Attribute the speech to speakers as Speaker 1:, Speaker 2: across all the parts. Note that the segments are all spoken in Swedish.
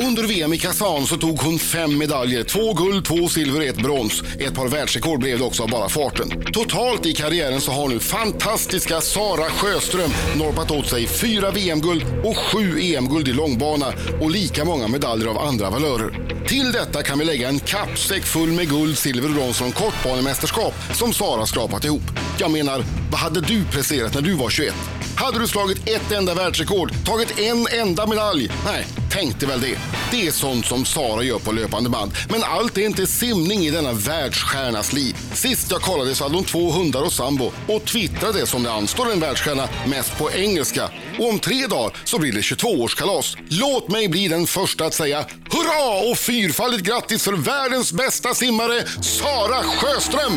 Speaker 1: Under VM i Kazan så tog hon fem medaljer. Två guld, två silver och ett brons. Ett par världsrekord blev det också av bara farten. Totalt i karriären så har nu fantastiska Sara Sjöström norpat åt sig fyra VM-guld och sju EM-guld i långbana och lika många medaljer av andra valörer. Till detta kan vi lägga en kappsäck full med guld, silver och brons från kortbanemästerskap som Sara skrapat ihop. Jag menar, vad hade du presterat när du var 21? Hade du slagit ett enda världsrekord, tagit en enda medalj? Nej, tänkte väl det. Det är sånt som Sara gör på löpande band. Men allt är inte simning i denna världsstjärnas liv. Sist jag kollade så hade hon två hundar och sambo och twittrade som det anstår en världsstjärna mest på engelska. Och om tre dagar så blir det 22-årskalas. Låt mig bli den första att säga hurra och fyrfaldigt grattis för världens bästa simmare Sara Sjöström!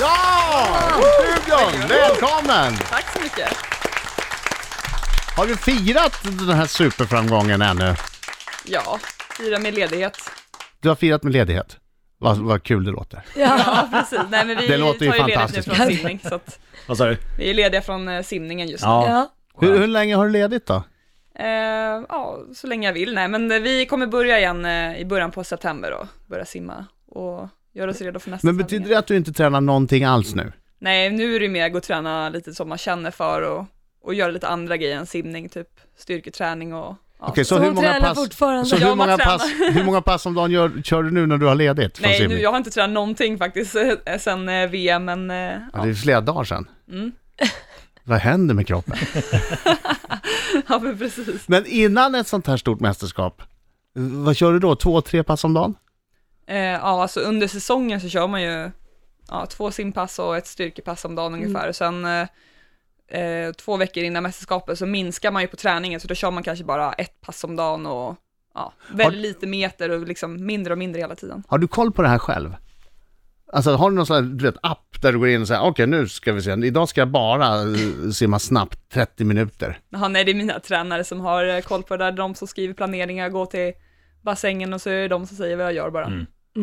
Speaker 2: Ja! Studion! Välkommen!
Speaker 3: Tack så mycket.
Speaker 2: Har du firat den här superframgången ännu?
Speaker 3: Ja, fira med ledighet.
Speaker 2: Du har firat med ledighet. Vad, vad kul det låter.
Speaker 3: Ja, precis. Nej, men vi
Speaker 2: Det låter ju
Speaker 3: tar ju ledigt nu
Speaker 2: fantastiskt.
Speaker 3: från simning. Så att
Speaker 4: Vad sa du?
Speaker 3: vi är lediga från eh, simningen just nu. Ja.
Speaker 4: Ja.
Speaker 5: Ja.
Speaker 2: Hur, hur länge har du ledigt då?
Speaker 3: Eh, ja, så länge jag vill. Nej, men eh, vi kommer börja igen eh, i början på september och börja simma och göra oss redo för nästa
Speaker 2: Men betyder
Speaker 3: tävling.
Speaker 2: det att du inte tränar någonting alls nu?
Speaker 3: Nej, nu är det mer gå och träna lite som man känner för och, och göra lite andra grejer än simning, typ styrketräning och ja.
Speaker 2: Okej,
Speaker 5: Så hon tränar fortfarande?
Speaker 2: så
Speaker 3: Ja,
Speaker 2: hur
Speaker 3: man
Speaker 2: många,
Speaker 3: tränar.
Speaker 2: pass, hur många pass om dagen gör, kör du nu när du har ledigt? från
Speaker 3: Nej, nu,
Speaker 2: simning?
Speaker 3: jag har inte tränat någonting faktiskt eh, sen eh, VM, men eh,
Speaker 2: Ja,
Speaker 3: ja,
Speaker 2: det är flera dagar sedan.
Speaker 3: Mm.
Speaker 2: Vad händer med kroppen?
Speaker 3: ja men precis.
Speaker 2: Men innan ett sånt här stort mästerskap, vad kör du då? Två, tre pass om dagen?
Speaker 3: Eh, ja, alltså under säsongen så kör man ju ja, två simpass och ett styrkepass om dagen ungefär. Och Sen eh, eh, två veckor innan mästerskapet så minskar man ju på träningen, så då kör man kanske bara ett pass om dagen och ja, väldigt lite meter och liksom mindre och mindre hela tiden.
Speaker 2: Har du koll på det här själv? Alltså har du någon sån här, du vet, app där du går in och säger okej nu ska vi se, idag ska jag bara eh, simma snabbt 30 minuter.
Speaker 3: Jaha, nej, det är mina tränare som har eh, koll på det där, de som skriver planeringar, går till bassängen och så är det de som säger vad jag gör bara.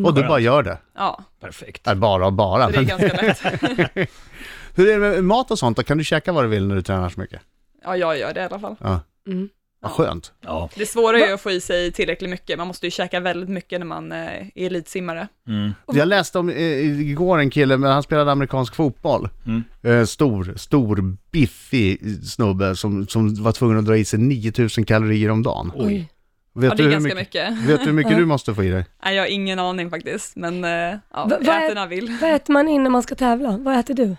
Speaker 2: Och du bara gör det.
Speaker 3: Ja,
Speaker 4: Perfekt.
Speaker 2: Nej, bara och bara.
Speaker 3: så det är
Speaker 2: Men,
Speaker 3: ganska lätt.
Speaker 2: hur är det med mat och sånt då? Kan du käka vad du vill när du tränar så mycket?
Speaker 3: Ja, jag gör det i alla fall.
Speaker 5: Mm.
Speaker 2: Vad skönt.
Speaker 4: Ja.
Speaker 3: Det svåra är ju att få i sig tillräckligt mycket, man måste ju käka väldigt mycket när man eh, är elitsimmare.
Speaker 4: Mm.
Speaker 2: Jag läste om eh, igår en kille, men han spelade amerikansk fotboll.
Speaker 4: Mm.
Speaker 2: Eh, stor, stor, biffig snubbe som, som var tvungen att dra i sig 9000 kalorier om dagen.
Speaker 4: Oj.
Speaker 2: Vet
Speaker 3: ja,
Speaker 2: du
Speaker 3: det är
Speaker 2: hur
Speaker 3: ganska
Speaker 2: mycket,
Speaker 3: mycket.
Speaker 2: Vet du hur mycket du måste få i dig?
Speaker 3: Nej, jag har ingen aning faktiskt, men eh, ja,
Speaker 5: Va- vad är-
Speaker 3: jag äter när jag vill.
Speaker 5: Vad äter man innan man ska tävla? Vad äter du?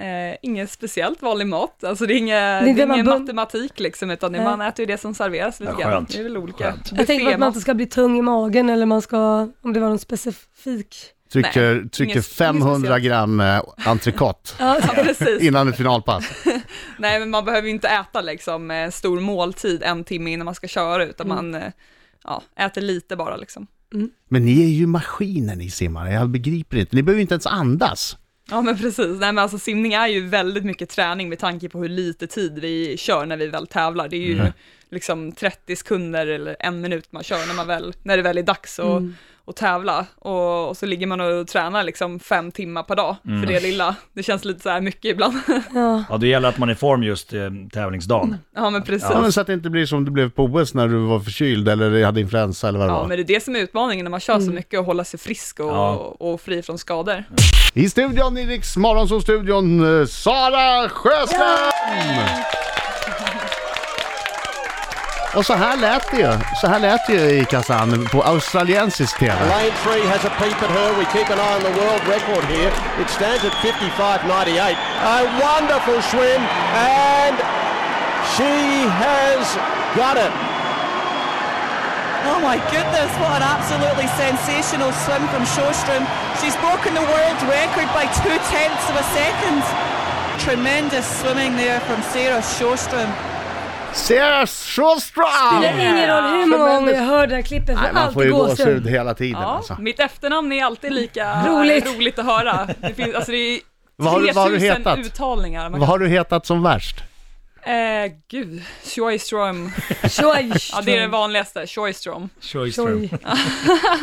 Speaker 3: Eh, inget speciellt vanlig mat, alltså det är inga,
Speaker 5: är
Speaker 3: det är
Speaker 5: det man
Speaker 3: ingen
Speaker 5: bun-
Speaker 3: matematik liksom, utan det-
Speaker 5: Nej.
Speaker 3: man äter ju det som serveras lite
Speaker 4: Ja,
Speaker 3: grann.
Speaker 4: skönt.
Speaker 3: Det är väl olika.
Speaker 4: Skönt.
Speaker 5: Jag tänker på att man
Speaker 3: Buffémat.
Speaker 5: inte ska bli tung i magen eller man ska, om det var någon specifik.
Speaker 2: Trycker, trycker
Speaker 3: inget
Speaker 2: 500
Speaker 3: speciellt.
Speaker 2: gram eh, entrecote
Speaker 3: Ja, precis.
Speaker 2: innan ett finalpass.
Speaker 3: Nej, men man behöver ju inte äta liksom eh, stor måltid en timme innan man ska köra, utan
Speaker 5: Mm.
Speaker 3: man eh, ja, äter lite bara liksom.
Speaker 2: Men ni är ju maskiner ni simmare, jag begriper inte. Ni behöver ju inte ens andas.
Speaker 3: Ja men precis, nej men alltså simning är ju väldigt mycket träning med tanke på hur lite tid vi kör när vi väl tävlar. Det är
Speaker 2: Mm.
Speaker 3: ju liksom 30 sekunder eller en minut man kör när, man väl, när det väl är dags att att tävla. Och, och så ligger man och tränar liksom fem timmar per dag för
Speaker 2: Mm.
Speaker 3: det lilla. Det känns lite så här mycket ibland.
Speaker 5: Ja.
Speaker 4: Ja, det gäller att man är i form just eh, tävlingsdagen.
Speaker 3: ja men precis.
Speaker 2: Ja,
Speaker 3: Ja,
Speaker 2: men så att det inte blir som det blev på OS när du var förkyld eller hade influensa eller vad det var.
Speaker 3: men det är det som är utmaningen när man kör så mycket och hålla sig frisk och,
Speaker 4: Ja.
Speaker 3: och fri från skador.
Speaker 2: I studion i Riks Morgonzoo-studion, eh, Sara Sjöström! Och så här lät det ju. Så här lät det ju i Kazan på australiensisk TV.
Speaker 6: Lane three has a peep at her. We keep an eye on the world record here. It stands at 55.98. A wonderful swim, and she has got it.
Speaker 7: Oh my goodness, what an absolutely sensational swim from Sjostrom. She's broken the world record by two tenths of a second. Tremendous swimming there from Sarah Sjostrom.
Speaker 2: Sarah Sjöström!
Speaker 5: Det är ingen roll hur många gånger jag hör det här klippet,
Speaker 2: Nej,
Speaker 5: jag får
Speaker 2: man får ju
Speaker 5: alltid gåshud.
Speaker 2: gåshud hela tiden
Speaker 3: Ja,
Speaker 2: alltså.
Speaker 3: mitt efternamn är alltid lika
Speaker 5: Roligt.
Speaker 3: roligt att höra. Det finns, alltså det är
Speaker 2: Vad har du- vad har du
Speaker 3: 3000
Speaker 2: hetat?
Speaker 3: uttalningar. Man
Speaker 2: Vad har du hetat som värst?
Speaker 3: Eh, gud, Sjöström.
Speaker 5: Tjoj!
Speaker 3: Ja, det är det vanligaste, Sjöström.
Speaker 5: Tjoj.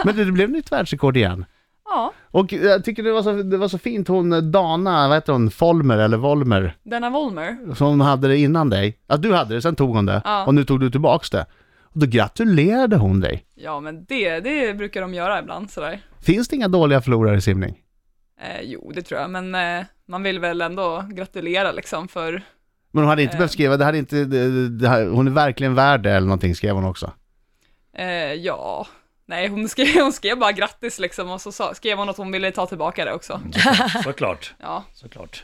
Speaker 2: Men du, det blev nytt världsrekord igen.
Speaker 3: Ja,
Speaker 2: Och jag tycker det var så, det var så fint hon Dana, vad heter hon, Folmer eller Volmer,
Speaker 3: denna Volmer.
Speaker 2: Mm. som hade det innan dig. Ja, du hade det, sen tog hon det.
Speaker 3: Ja.
Speaker 2: Och nu tog du tillbaks det. Då gratulerade hon dig.
Speaker 3: Ja, men det, det brukar de göra ibland sådär.
Speaker 2: Finns det inga dåliga förlorare i simning?
Speaker 3: Eh, jo, det tror jag, men eh, man vill väl ändå gratulera liksom för...
Speaker 2: Men hon hade inte
Speaker 3: Eh.
Speaker 2: behövt skriva, det här är inte, det, det här, hon är verkligen värd det eller någonting skrev hon också.
Speaker 3: Eh, ja, nej, hon skrev, hon skrev bara grattis liksom och så sa, skrev hon att hon ville ta tillbaka det också.
Speaker 4: Såklart,
Speaker 3: Ja,
Speaker 4: såklart.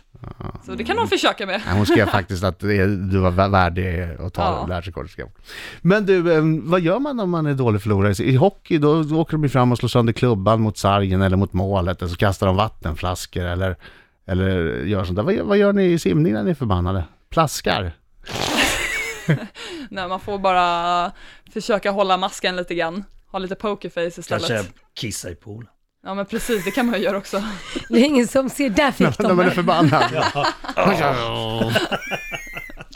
Speaker 3: så det kan hon försöka med.
Speaker 2: Nej, hon skrev faktiskt att det- du var vä- värdig att ta
Speaker 3: Ja.
Speaker 2: världsrekordet. skrev hon. Men du, eh, vad gör man om man är dålig förlorare? I hockey, då då åker de ju fram och slår sönder klubban mot sargen eller mot målet, eller så kastar de vattenflaskor eller, eller gör sånt där. Vad, gör- vad gör ni i simning när ni är förbannade? Plaskar?
Speaker 3: Nej, man får bara försöka hålla masken lite grann. Ha lite pokerface istället.
Speaker 4: Kanske kissa i poolen.
Speaker 3: Ja, men precis, det kan man ju göra också.
Speaker 5: Det är ingen som ser, där fick
Speaker 2: När
Speaker 5: de
Speaker 2: man är
Speaker 5: det.
Speaker 2: förbannad?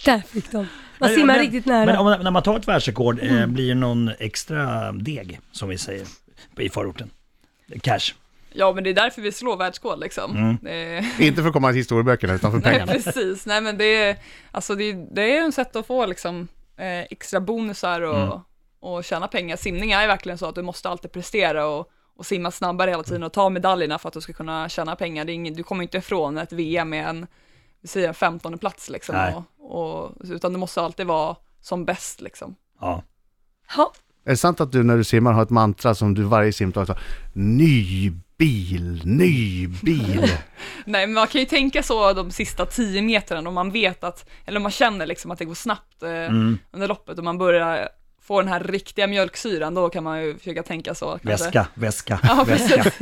Speaker 5: Där fick de. Man
Speaker 4: Men-
Speaker 5: simmar
Speaker 4: men-
Speaker 5: riktigt nära. Mm.
Speaker 4: Men om, när man tar ett världsrekord, eh, blir det någon extra deg, som vi säger, i förorten? Cash.
Speaker 3: Ja, men det är därför vi slår världskod liksom. Det,
Speaker 2: inte för att komma till historieböckerna, utan för
Speaker 3: nej,
Speaker 2: pengarna.
Speaker 3: precis. Nej, men det är, alltså det, är- det är en sätt att få liksom eh, extra bonusar och,
Speaker 2: Mm.
Speaker 3: och tjäna pengar. Simning är ju verkligen så att du måste alltid prestera och, och simma snabbare hela tiden och ta medaljerna för att du ska kunna tjäna pengar. Det är ingen, du kommer inte ifrån ett VM med en, vi säger en 15 plats liksom.
Speaker 4: Nej.
Speaker 3: Och, och, utan du måste alltid vara som bäst liksom.
Speaker 4: Ja.
Speaker 5: Ja,
Speaker 2: Är det sant att du när du simmar har ett mantra som du varje simtag tar? Ny bil, ny bil.
Speaker 3: Nej, men man kan ju tänka så de sista tio metrarna om man vet att, eller om man känner liksom att det går snabbt eh,
Speaker 2: Mm.
Speaker 3: under loppet och man börjar få den här riktiga mjölksyran, då kan man ju försöka tänka så. kanske.
Speaker 4: Väska, väska,
Speaker 3: Ja,
Speaker 4: väska.
Speaker 3: precis.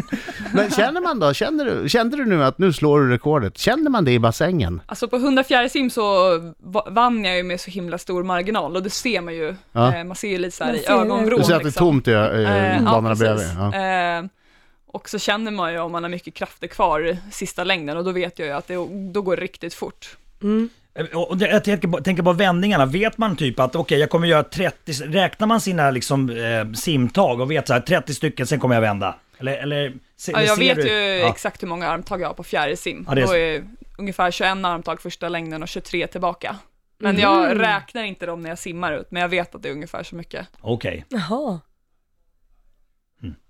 Speaker 2: Men känner man då, känner du, kände du nu att nu slår du rekordet? Känner man det i bassängen?
Speaker 3: Alltså på 104 sim så va- vann jag ju med så himla stor marginal och det ser man ju.
Speaker 2: Ja.
Speaker 3: Eh, man ser ju lite så här
Speaker 5: Man
Speaker 3: i
Speaker 5: ser det.
Speaker 3: ögonvrån.
Speaker 2: Du ser att det är
Speaker 3: liksom.
Speaker 2: tomt i
Speaker 3: Eh,
Speaker 2: eh, banorna
Speaker 3: precis.
Speaker 2: bredvid. Ja.
Speaker 3: Eh, och så känner man ju om man har mycket krafter kvar i sista längden och då vet jag ju att det då går det riktigt fort.
Speaker 4: Eh, Och och det- jag tänker på, tänker på vändningarna, vet man typ att okej jag kommer göra 30, räknar man sina liksom, eh, simtag och vet så här 30 stycken, sen kommer jag vända? Eller, eller, se,
Speaker 3: Ja, jag
Speaker 4: ser
Speaker 3: vet
Speaker 4: du-
Speaker 3: ju
Speaker 4: Ja.
Speaker 3: exakt hur många armtag jag har på fjärilsim.
Speaker 4: Ja, det är
Speaker 3: Då
Speaker 4: så.
Speaker 3: är ungefär 21 armtag första längden och 23 tillbaka. Men
Speaker 4: Mm.
Speaker 3: jag räknar inte dem när jag simmar ut, men jag vet att det är ungefär så mycket.
Speaker 4: Okej.
Speaker 5: jaha.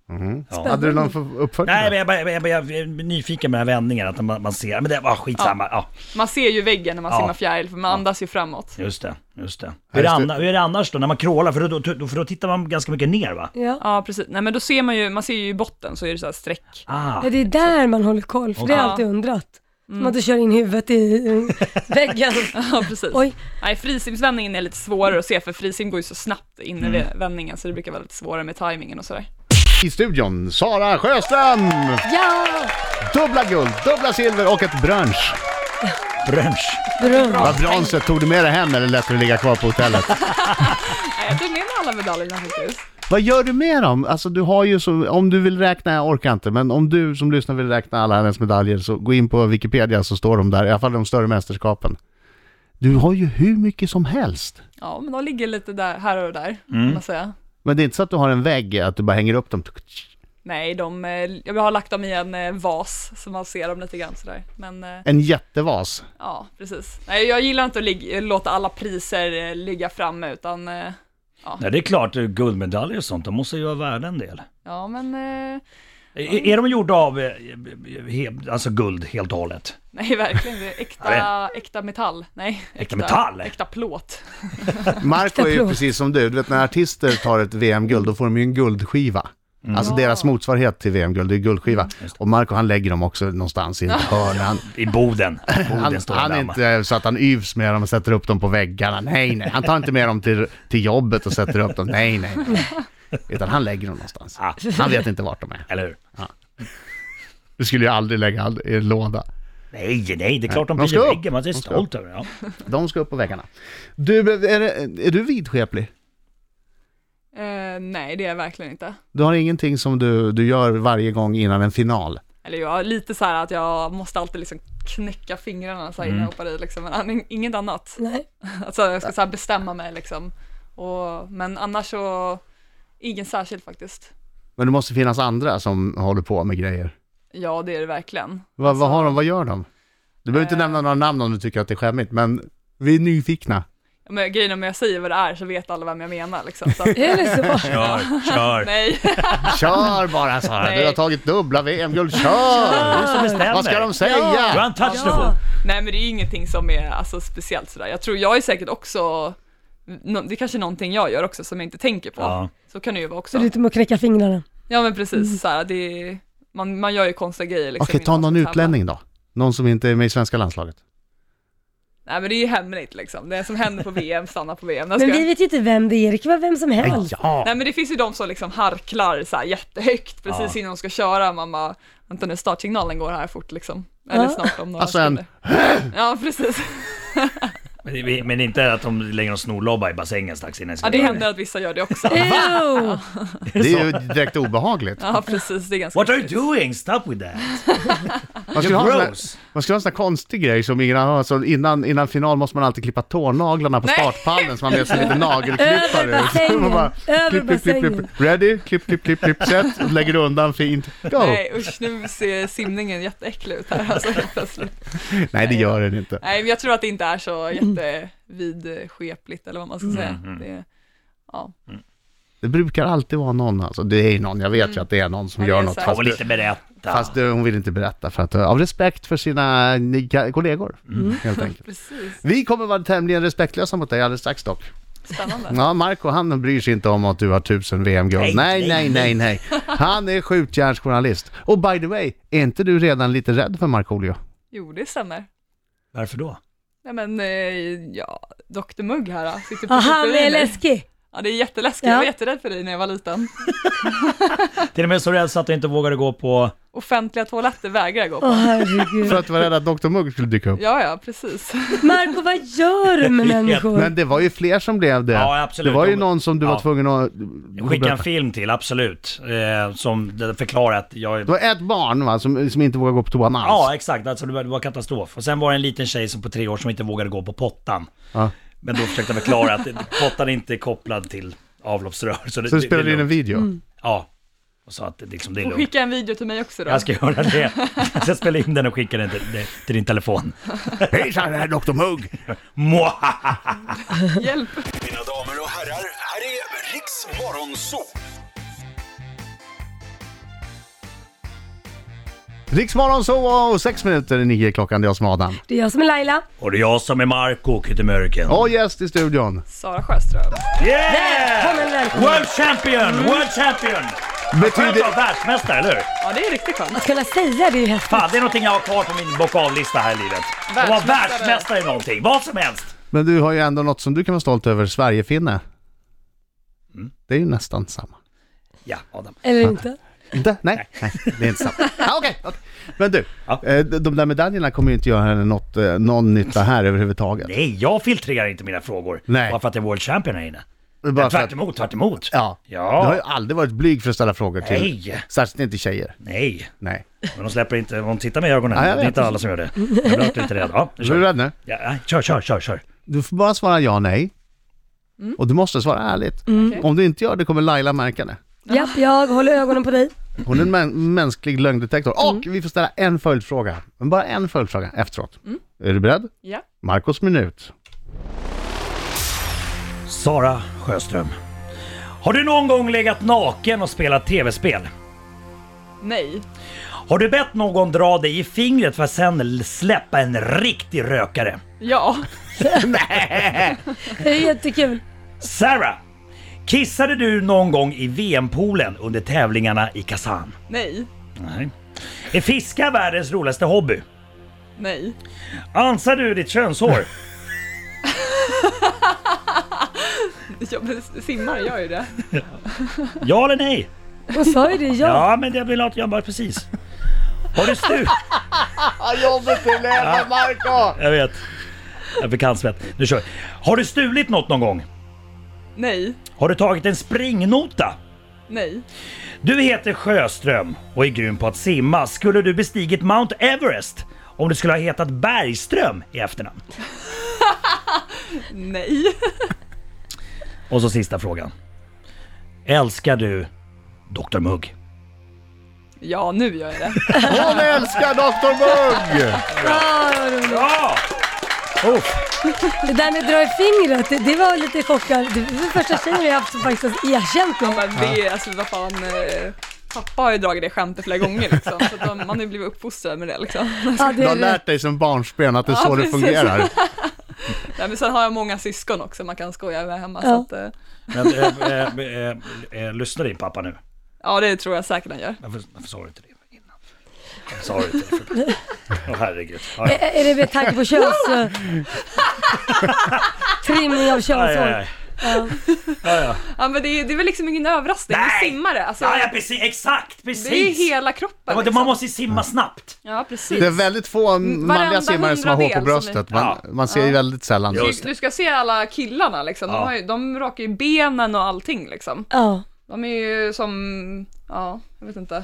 Speaker 2: Mhm.
Speaker 4: Ja.
Speaker 2: Hade du någon för- uppföljning?
Speaker 4: Nej,
Speaker 2: där?
Speaker 4: men jag, bara- jag, bara- jag, jag är nyfiken med den här vändningen, att man, man ser, men det var skitsamma. Ja.
Speaker 3: Man ser ju väggen när man
Speaker 4: Ja.
Speaker 3: simmar fjäril, för man andas ju framåt.
Speaker 4: just det, just det.
Speaker 2: Ja, just
Speaker 4: Hur, är det.
Speaker 2: det.
Speaker 4: anna- hur är det annars då, när man crawlar? För då, då, för då tittar man ganska mycket ner va?
Speaker 5: Ja.
Speaker 3: Ja, precis. Nej, men då ser man ju, man ser ju i botten så är det så här streck.
Speaker 4: Ah,
Speaker 5: ja, det är där man håller koll, för det har jag
Speaker 3: Ja. Mm.
Speaker 5: alltid undrat. Man inte kör in huvudet i eh, väggen.
Speaker 3: Ja, precis.
Speaker 5: Oj.
Speaker 3: Nej, frisimsvändningen är lite svårare att se, för frisim går ju så snabbt in
Speaker 4: Mm.
Speaker 3: i vändningen, så det brukar vara lite svårare med tajmingen och sådär.
Speaker 2: I studion, Sara Sjöström!
Speaker 5: Ja!
Speaker 2: Dubbla guld, dubbla silver och ett brunch.
Speaker 4: brunch.
Speaker 5: Beröm.
Speaker 2: Vad brunchen, tog du med dig hem eller lät du ligga kvar på hotellet?
Speaker 3: Nej, jag tog med mig alla medaljerna faktiskt.
Speaker 2: Vad gör du med dem? Alltså du har ju så, om du vill räkna, jag orkar inte, men om du som lyssnar vill räkna alla hennes medaljer så gå in på Wikipedia så står de där, i alla fall de större mästerskapen. Du har ju hur mycket som helst.
Speaker 3: Ja, men de ligger lite där, här och där,
Speaker 4: Mm.
Speaker 3: kan man säga.
Speaker 2: Men det är inte så att du har en vägg, att du bara hänger upp dem.
Speaker 3: Nej, de, eh, jag har lagt dem i en eh, vas så man ser dem lite grann sådär. Men eh,
Speaker 2: En jättevas.
Speaker 3: ja, precis. Nej, jag gillar inte att lig- låta alla priser eh, ligga framme utan eh,
Speaker 4: Nej, det är klart, eh, guldmedaljer och sånt, de måste ju vara värda en del.
Speaker 3: ja, men eh,
Speaker 4: Är, är de gjorda av eh, he, alltså guld helt och hållet?
Speaker 3: nej, verkligen. Det är äkta, äkta metall. Nej, äkta
Speaker 4: metall?
Speaker 3: Äkta plåt.
Speaker 2: Marco är ju
Speaker 5: Förlåt.
Speaker 2: precis som du, du vet när artister tar ett VM-guld, då får de ju en guldskiva. Alltså deras motsvarighet till VM-guld, det är guldskiva. Och Marco han lägger dem också någonstans i ett hörn. Han,
Speaker 4: I Boden. Boden
Speaker 2: han,
Speaker 4: står
Speaker 2: han
Speaker 4: det
Speaker 2: är
Speaker 4: där, va?
Speaker 2: inte så att han yvs med dem och sätter upp dem på väggarna. Nej, nej. Han tar inte med dem till, till jobbet och sätter upp dem. Nej, nej. nej. Utan han lägger dem någonstans.
Speaker 4: Ah.
Speaker 2: Han vet inte vart de är.
Speaker 4: Eller hur?
Speaker 2: Du skulle ju aldrig lägga all- i en låda.
Speaker 4: Nej, nej, det är klart de
Speaker 2: De ska
Speaker 4: blir
Speaker 2: upp.
Speaker 4: väggen. Man är
Speaker 2: ska
Speaker 4: stolt över det. Ja.
Speaker 2: De ska upp på väggarna. Du, är, det- är du vidskeplig?
Speaker 3: Eh, nej, det är jag verkligen inte.
Speaker 2: Du har ingenting som du, du gör varje gång innan en final?
Speaker 3: Eller jag är lite så här att jag måste alltid liksom knäcka fingrarna så här innan jag hoppar i liksom, men an- inget annat.
Speaker 5: Nej.
Speaker 3: Alltså jag ska så här bestämma mig liksom. Och, men annars så, ingen särskild faktiskt.
Speaker 2: Men det måste finnas andra som håller på med grejer.
Speaker 3: Ja, det är det verkligen.
Speaker 2: Vad, vad Eh. har de, vad gör de? Du behöver inte nämna några namn om du tycker att det är skämmigt, men vi är nyfikna.
Speaker 3: Men grejen om jag säger vad det är så vet alla vem jag menar liksom. Så att,
Speaker 5: Är det så?
Speaker 4: Kör, kör.
Speaker 3: nej.
Speaker 2: Kör bara Sara,
Speaker 3: Nej.
Speaker 2: du har tagit dubbla VM-guld. Kör!
Speaker 4: Du som bestämmer.
Speaker 2: Vad ska de säga?
Speaker 4: Du är untouchable.
Speaker 3: nej men det är ju ingenting som är alltså, speciellt sådär. Jag tror jag är säkert också, nå- det är kanske är någonting jag gör också som jag inte tänker på.
Speaker 4: Ja.
Speaker 3: Så kan det ju vara
Speaker 5: Så
Speaker 3: också.
Speaker 5: lite med att knäcka fingrarna.
Speaker 3: Ja men precis, såhär, det är, man, man gör ju konstiga grejer liksom.
Speaker 2: Mm. Okej, ta
Speaker 3: innan man
Speaker 2: någon
Speaker 3: ska tävla.
Speaker 2: utlänning då. Någon som inte är med i svenska landslaget.
Speaker 3: Nej men det är ju hemligt liksom. Det som händer på VM stannar på VM. Jag
Speaker 5: Men
Speaker 3: skojar.
Speaker 5: vi vet ju inte vem det är, det kan vara vem som helst.
Speaker 2: Ja!
Speaker 3: Nej men det finns ju de som liksom harklar så här jättehögt precis innan de ska köra. Man bara, vänta nu startsignalen går här fort liksom. Eller
Speaker 5: Ja.
Speaker 3: snart om några
Speaker 2: Alltså en...
Speaker 3: sekunder. Ja precis.
Speaker 4: Men, det- men inte att de lägger någon snorlobba i bassängen strax innan.
Speaker 3: Ja det händer att vissa gör det också.
Speaker 5: Ew!
Speaker 2: Det är ju direkt obehagligt.
Speaker 3: Ja precis, det är ganska
Speaker 4: What are you
Speaker 3: äckligt.
Speaker 4: doing? Stop with that!
Speaker 2: Man skulle, ha en
Speaker 4: You're
Speaker 2: sån här,
Speaker 4: gross!
Speaker 2: man skulle ha en sån här konstig grej som ingen annan har. Så innan, innan final måste man alltid klippa tånaglarna på
Speaker 3: Nej.
Speaker 2: startpallen så man blir som lite nagelklippare.
Speaker 5: Över bassängen.
Speaker 2: Så man bara,
Speaker 5: Över bassängen.
Speaker 2: Ready? Klipp, klipp, klipp, klipp, set. Lägger du undan fint. Go! Nej,
Speaker 3: Nej usch, nu ser simningen jätteäcklig ut här alltså helt plötsligt.
Speaker 2: det gör den inte.
Speaker 3: Nej men jag tror att det inte är så jättevidskepligt eller vad man ska säga.
Speaker 4: Mhm.
Speaker 3: Det, ja.
Speaker 2: Det brukar alltid vara någon alltså. Det är ju någon, jag vet ju att det är någon som
Speaker 3: Ja, det
Speaker 2: gör
Speaker 3: är
Speaker 2: något.
Speaker 3: så här.
Speaker 4: Kom
Speaker 2: Fast,
Speaker 4: och lite berätta.
Speaker 2: fast eh, hon vill inte berätta för att, eh, av respekt för sina nya kollegor. Helt enkelt.
Speaker 3: Precis,
Speaker 2: Vi kommer vara tämligen respektlösa mot dig alldeles strax dock.
Speaker 3: spännande.
Speaker 2: Ja, Marco han bryr sig inte om att du har tusen VM-guld. Nej,
Speaker 4: Nej,
Speaker 2: nej,
Speaker 4: nej,
Speaker 2: nej, nej. Han är skjutjärnsjournalist. Och by the way, är inte du redan lite rädd för Markoolio?
Speaker 3: Jo, det stämmer.
Speaker 4: Varför då?
Speaker 3: Nej men, eh, ja, Dr Mugg här då, sitter på
Speaker 5: Ja, han är
Speaker 3: superviner.
Speaker 5: läskig.
Speaker 3: Ja, det är jätteläskigt.
Speaker 5: Ja.
Speaker 3: Jag var jätterädd för dig när jag var liten.
Speaker 4: Till och med så rädd så att du inte vågade gå på...
Speaker 3: Offentliga toaletter vägrar jag gå
Speaker 5: Åh
Speaker 3: på.
Speaker 2: För
Speaker 5: herregud.
Speaker 2: att du var rädd att Dr Mugg skulle dyka upp.
Speaker 3: Ja, ja, precis.
Speaker 5: Marco, vad gör du med människor?
Speaker 2: Men det var ju fler som blev det.
Speaker 4: Ja, absolut.
Speaker 2: Det var ju
Speaker 4: De-
Speaker 2: någon som du var
Speaker 4: Ja.
Speaker 2: tvungen att...
Speaker 4: Skicka en film till, absolut. Eh, som det förklarar att jag...
Speaker 2: Det var ett barn va, som, som inte vågade gå på toan alls.
Speaker 4: Ja, exakt. Alltså, det var- det var katastrof. Och sen var det en liten tjej som på tre år som inte vågade gå på pottan.
Speaker 2: Ja.
Speaker 4: Men då försökte jag förklara att pottan inte är kopplad till avloppsrör. Så, det,
Speaker 2: Så du spelade
Speaker 4: det är
Speaker 2: in en
Speaker 4: lugnt. Mm.
Speaker 2: video.
Speaker 4: Ja. Och sa att det, liksom, det är
Speaker 3: Och
Speaker 4: lugnt.
Speaker 3: skicka en video till mig också då.
Speaker 4: Jag ska göra det. Jag ska spela in den och skicka den till, till din telefon.
Speaker 2: Hejsan, det här är Dr Mugg!
Speaker 4: Mwahaha.
Speaker 3: Hjälp!
Speaker 8: Mina damer och herrar, här är Riks Morgonzoo!
Speaker 2: Riksmorgon så, och sex minuter i nio klockan, det är jag som är Adam.
Speaker 5: Det är jag som är Laila.
Speaker 4: Och det är jag som är Marco Kyttemörken.
Speaker 2: Och gäst i studion.
Speaker 3: Sara Sjöström.
Speaker 5: Välkommen,
Speaker 4: Yeah!
Speaker 5: välkommen.
Speaker 4: World champion! World champion! Skönt att
Speaker 2: Betyder...
Speaker 4: vara världsmästare, eller hur?
Speaker 3: Ja, det är riktigt skönt.
Speaker 5: Att kunna säga det är ju häftigt.
Speaker 4: Fan, det är någonting jag har kvar på min bocka av-lista här i livet. Att vara
Speaker 3: Världsmästare.
Speaker 4: världsmästare i någonting, vad som helst.
Speaker 2: Men du har ju ändå något som du kan vara stolt över, Sverigefinne. Det är ju nästan samma.
Speaker 4: Ja, Adam.
Speaker 5: Eller inte.
Speaker 2: Inte? Nej, nej, det är inte samma. Ah, Okej, okej. Men du,
Speaker 4: Ja.
Speaker 2: eh, de de där medaljerna kommer ju inte göra henne något, eh, någon nytta här överhuvudtaget.
Speaker 4: Nej, jag filtrerar inte mina frågor.
Speaker 2: Nej.
Speaker 4: Bara för att det är World Champion här inne.
Speaker 2: Bara för
Speaker 4: Tvärt
Speaker 2: att,
Speaker 4: emot, tvärt emot.
Speaker 2: ja.
Speaker 4: Ja.
Speaker 2: Du har ju aldrig varit blyg för att ställa frågor till.
Speaker 4: Nej.
Speaker 2: Särskilt inte tjejer.
Speaker 4: Nej,
Speaker 2: Nej.
Speaker 4: men de släpper inte, de tittar mig i ögonen.
Speaker 2: Ja, jag
Speaker 4: det
Speaker 2: vet.
Speaker 4: är inte alla som gör det. Jag blir alltid lite rädd. Ja, nu
Speaker 2: Är du
Speaker 4: kör.
Speaker 2: rädd nu?
Speaker 4: Ja, ja, kör, kör, kör, kör.
Speaker 2: Du får bara svara ja, nej. Och du måste svara ärligt. Om du inte gör det kommer Laila märka det.
Speaker 5: Ja, jag håller ögonen på dig.
Speaker 2: Hon är en
Speaker 3: Mm.
Speaker 2: mä- mänsklig lögndetektor. Och vi får ställa en följdfråga. Men bara en följdfråga efteråt.
Speaker 3: Mm.
Speaker 2: Är du beredd?
Speaker 3: Ja.
Speaker 2: Marcos minut.
Speaker 4: Sara Sjöström. Har du någon gång legat naken och spelat tv-spel?
Speaker 3: Nej.
Speaker 4: Har du bett någon dra dig i fingret för att sen l- släppa en riktig rökare?
Speaker 3: Ja.
Speaker 5: Det är jättekul.
Speaker 4: Sarah! Kissade du någon gång i VM-poolen under tävlingarna i Kazan?
Speaker 3: Nej.
Speaker 4: Nej. Är fiska världens roligaste hobby?
Speaker 3: Nej.
Speaker 4: Ansar du ditt könshår?
Speaker 3: Jag, men simmar gör ju det.
Speaker 4: Ja eller nej?
Speaker 5: Hon sa ju det, ja.
Speaker 4: Ja, men det vill jag att jag bara precis. Har du stu...
Speaker 2: Jobbet är leva, Marco!
Speaker 4: Jag vet. Jag fick handsvett. Nu kör vi. Har du stulit något någon gång?
Speaker 3: Nej.
Speaker 4: Har du tagit en springnota?
Speaker 3: Nej.
Speaker 4: Du heter Sjöström och är grym på att simma. Skulle du bestigit Mount Everest om du skulle ha hetat Bergström i efternamn?
Speaker 3: Nej.
Speaker 4: Och så sista frågan. Älskar du Dr Mugg?
Speaker 3: Ja, nu gör jag det.
Speaker 2: Hon älskar Dr Mugg!
Speaker 5: Ah, vad roligt.
Speaker 4: Ja! Uff.
Speaker 5: Det där med att dra i fingret, det, det var lite chockad. Det var första tjejen jag haft som faktiskt har erkänt
Speaker 3: Ja,
Speaker 5: mig.
Speaker 3: men det, alltså vad fan, eh, pappa har ju dragit det skämtet flera gånger liksom, så att de, man har ju blivit uppfostrad med det liksom.
Speaker 5: Ja, det
Speaker 2: Du har
Speaker 5: är det.
Speaker 2: lärt dig som barnsben att det är
Speaker 3: Ja,
Speaker 2: så det
Speaker 3: precis.
Speaker 2: fungerar.
Speaker 3: Nej, men sen har jag många syskon också man kan skoja med hemma, så
Speaker 5: Ja.
Speaker 3: att, eh,
Speaker 4: Men, eh, eh, eh, eh, lyssnar din pappa nu?
Speaker 3: ja det tror jag säkert han gör.
Speaker 4: Varför, varför sa du inte det innan? Varför sa du inte det? för- Åh herregud. Ja,
Speaker 3: Eh,
Speaker 4: ja.
Speaker 5: Ä- Är det med tanke på köns... eh, Trimning av
Speaker 4: Aj, aj,
Speaker 5: könshår.
Speaker 4: aj.
Speaker 5: Ja.
Speaker 3: Ja men det, det är väl liksom ingen överraskning,
Speaker 4: Nej!
Speaker 3: du simmar det. Alltså,
Speaker 4: Ja, ja, precis, exakt, precis!
Speaker 3: det är hela kroppen
Speaker 4: Ja, men det-
Speaker 3: liksom.
Speaker 4: Man måste ju simma snabbt.
Speaker 3: Ja precis.
Speaker 2: Det är väldigt få manliga simmare som har hår på
Speaker 3: Mm, hundradel som
Speaker 2: bröstet.
Speaker 3: är-
Speaker 2: Man,
Speaker 4: Ja.
Speaker 2: man ser ju väldigt sällan.
Speaker 4: Just
Speaker 3: Du, du ska se alla killarna liksom, de,
Speaker 4: Ja.
Speaker 3: har ju, de rakar ju benen och allting liksom.
Speaker 5: Ja.
Speaker 3: De är ju som, ja, jag vet inte.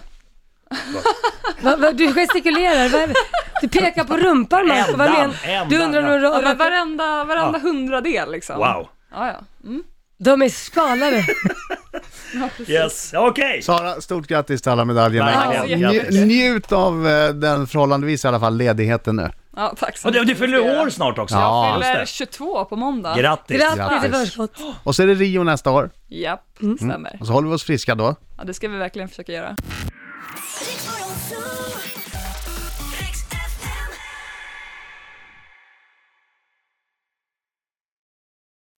Speaker 5: Va, va, du gestikulerar. Va, du pekar på rumpan Marco. Vad
Speaker 4: Ändan,
Speaker 5: men- Du undrar
Speaker 4: ändan,
Speaker 3: Ja, men
Speaker 5: nog... Ja.
Speaker 3: varenda, varenda hundradel liksom.
Speaker 4: Wow.
Speaker 3: Ja, ja. Mm.
Speaker 5: De är skalade.
Speaker 4: Yes, okej.
Speaker 2: Sara, stort grattis till alla medaljerna.
Speaker 4: Verkligen,
Speaker 2: Nj-
Speaker 4: grattis.
Speaker 2: njut av eh, den förhållandevis i alla fall ledigheten nu.
Speaker 3: ja tack så
Speaker 4: Och du, du fyller
Speaker 3: Jag
Speaker 4: år snart också.
Speaker 2: Ja.
Speaker 3: fyller
Speaker 4: just
Speaker 3: 22 på måndag.
Speaker 4: det. Grattis.
Speaker 5: Grattis i
Speaker 2: Grattis.
Speaker 5: förskott.
Speaker 2: Och så är det Rio nästa år.
Speaker 3: Japp, stämmer.
Speaker 2: Mm. Och så håller vi oss friska då.
Speaker 3: Ja, det ska vi verkligen försöka göra.